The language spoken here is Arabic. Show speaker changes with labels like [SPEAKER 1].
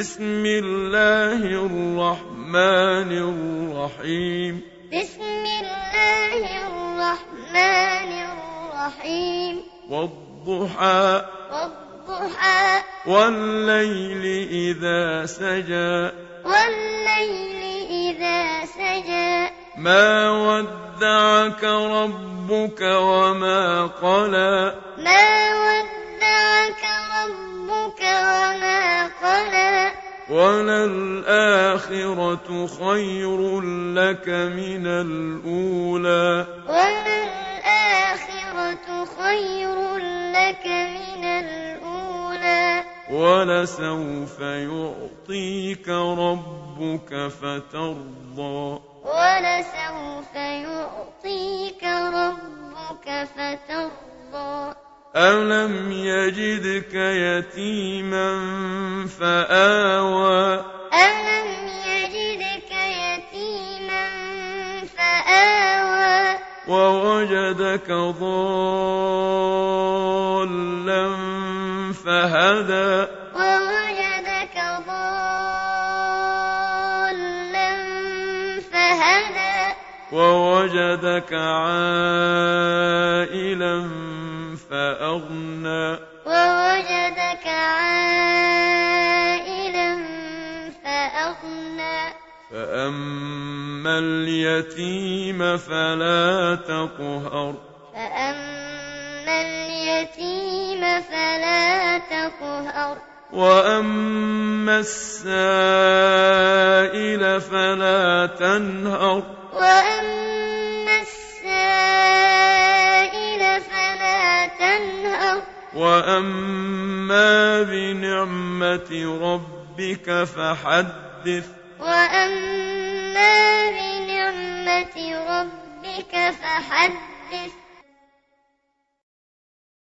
[SPEAKER 1] بِسْمِ اللَّهِ الرَّحْمَٰنِ الرَّحِيمِ
[SPEAKER 2] بسم الله الرحمن الرحيم
[SPEAKER 1] وَالضُّحَىٰ
[SPEAKER 2] والضحى
[SPEAKER 1] وَاللَّيْلِ إِذَا سَجَىٰ
[SPEAKER 2] والليل إذا سجى
[SPEAKER 1] مَا وَدَّعَكَ رَبُّكَ وَمَا قَلَىٰ
[SPEAKER 2] ما ودعك ربك وما قلى
[SPEAKER 1] وَلَلْآخِرَةُ خَيْرٌ لَّكَ مِنَ الْأُولَىٰ
[SPEAKER 2] وللآخرة خير لك من الأولى
[SPEAKER 1] وَلَسَوْفَ يُعْطيكَ رَبُّكَ فَتَرْضَىٰ
[SPEAKER 2] ولسوف يعطيك ربك فترضى
[SPEAKER 1] أَلَمْ يَجِدْكَ يَتِيمًا فَآوَىٰ
[SPEAKER 2] ألم يجدك يتيما فآوى
[SPEAKER 1] وَوَجَدَكَ ضَالًّا فَهَدَىٰ
[SPEAKER 2] ووجدك ضالا فهدى
[SPEAKER 1] وَوَجَدَكَ عَائِلًا فَأَغْنَىٰ
[SPEAKER 2] ووجدك عائلا فأغنى
[SPEAKER 1] فَأَمَّا الْيَتِيمَ فَلَا تَقْهَرْ
[SPEAKER 2] فأما اليتيم فلا تقهر
[SPEAKER 1] وَأَمَّا السَّائِلَ فَلَا تَنْهَرْ
[SPEAKER 2] وأما السائل فلا تنهر
[SPEAKER 1] وَأَمَّا بِنِعْمَةِ رَبِّك فَحَدِّثْ
[SPEAKER 2] وأما بنعمة ربك فحدث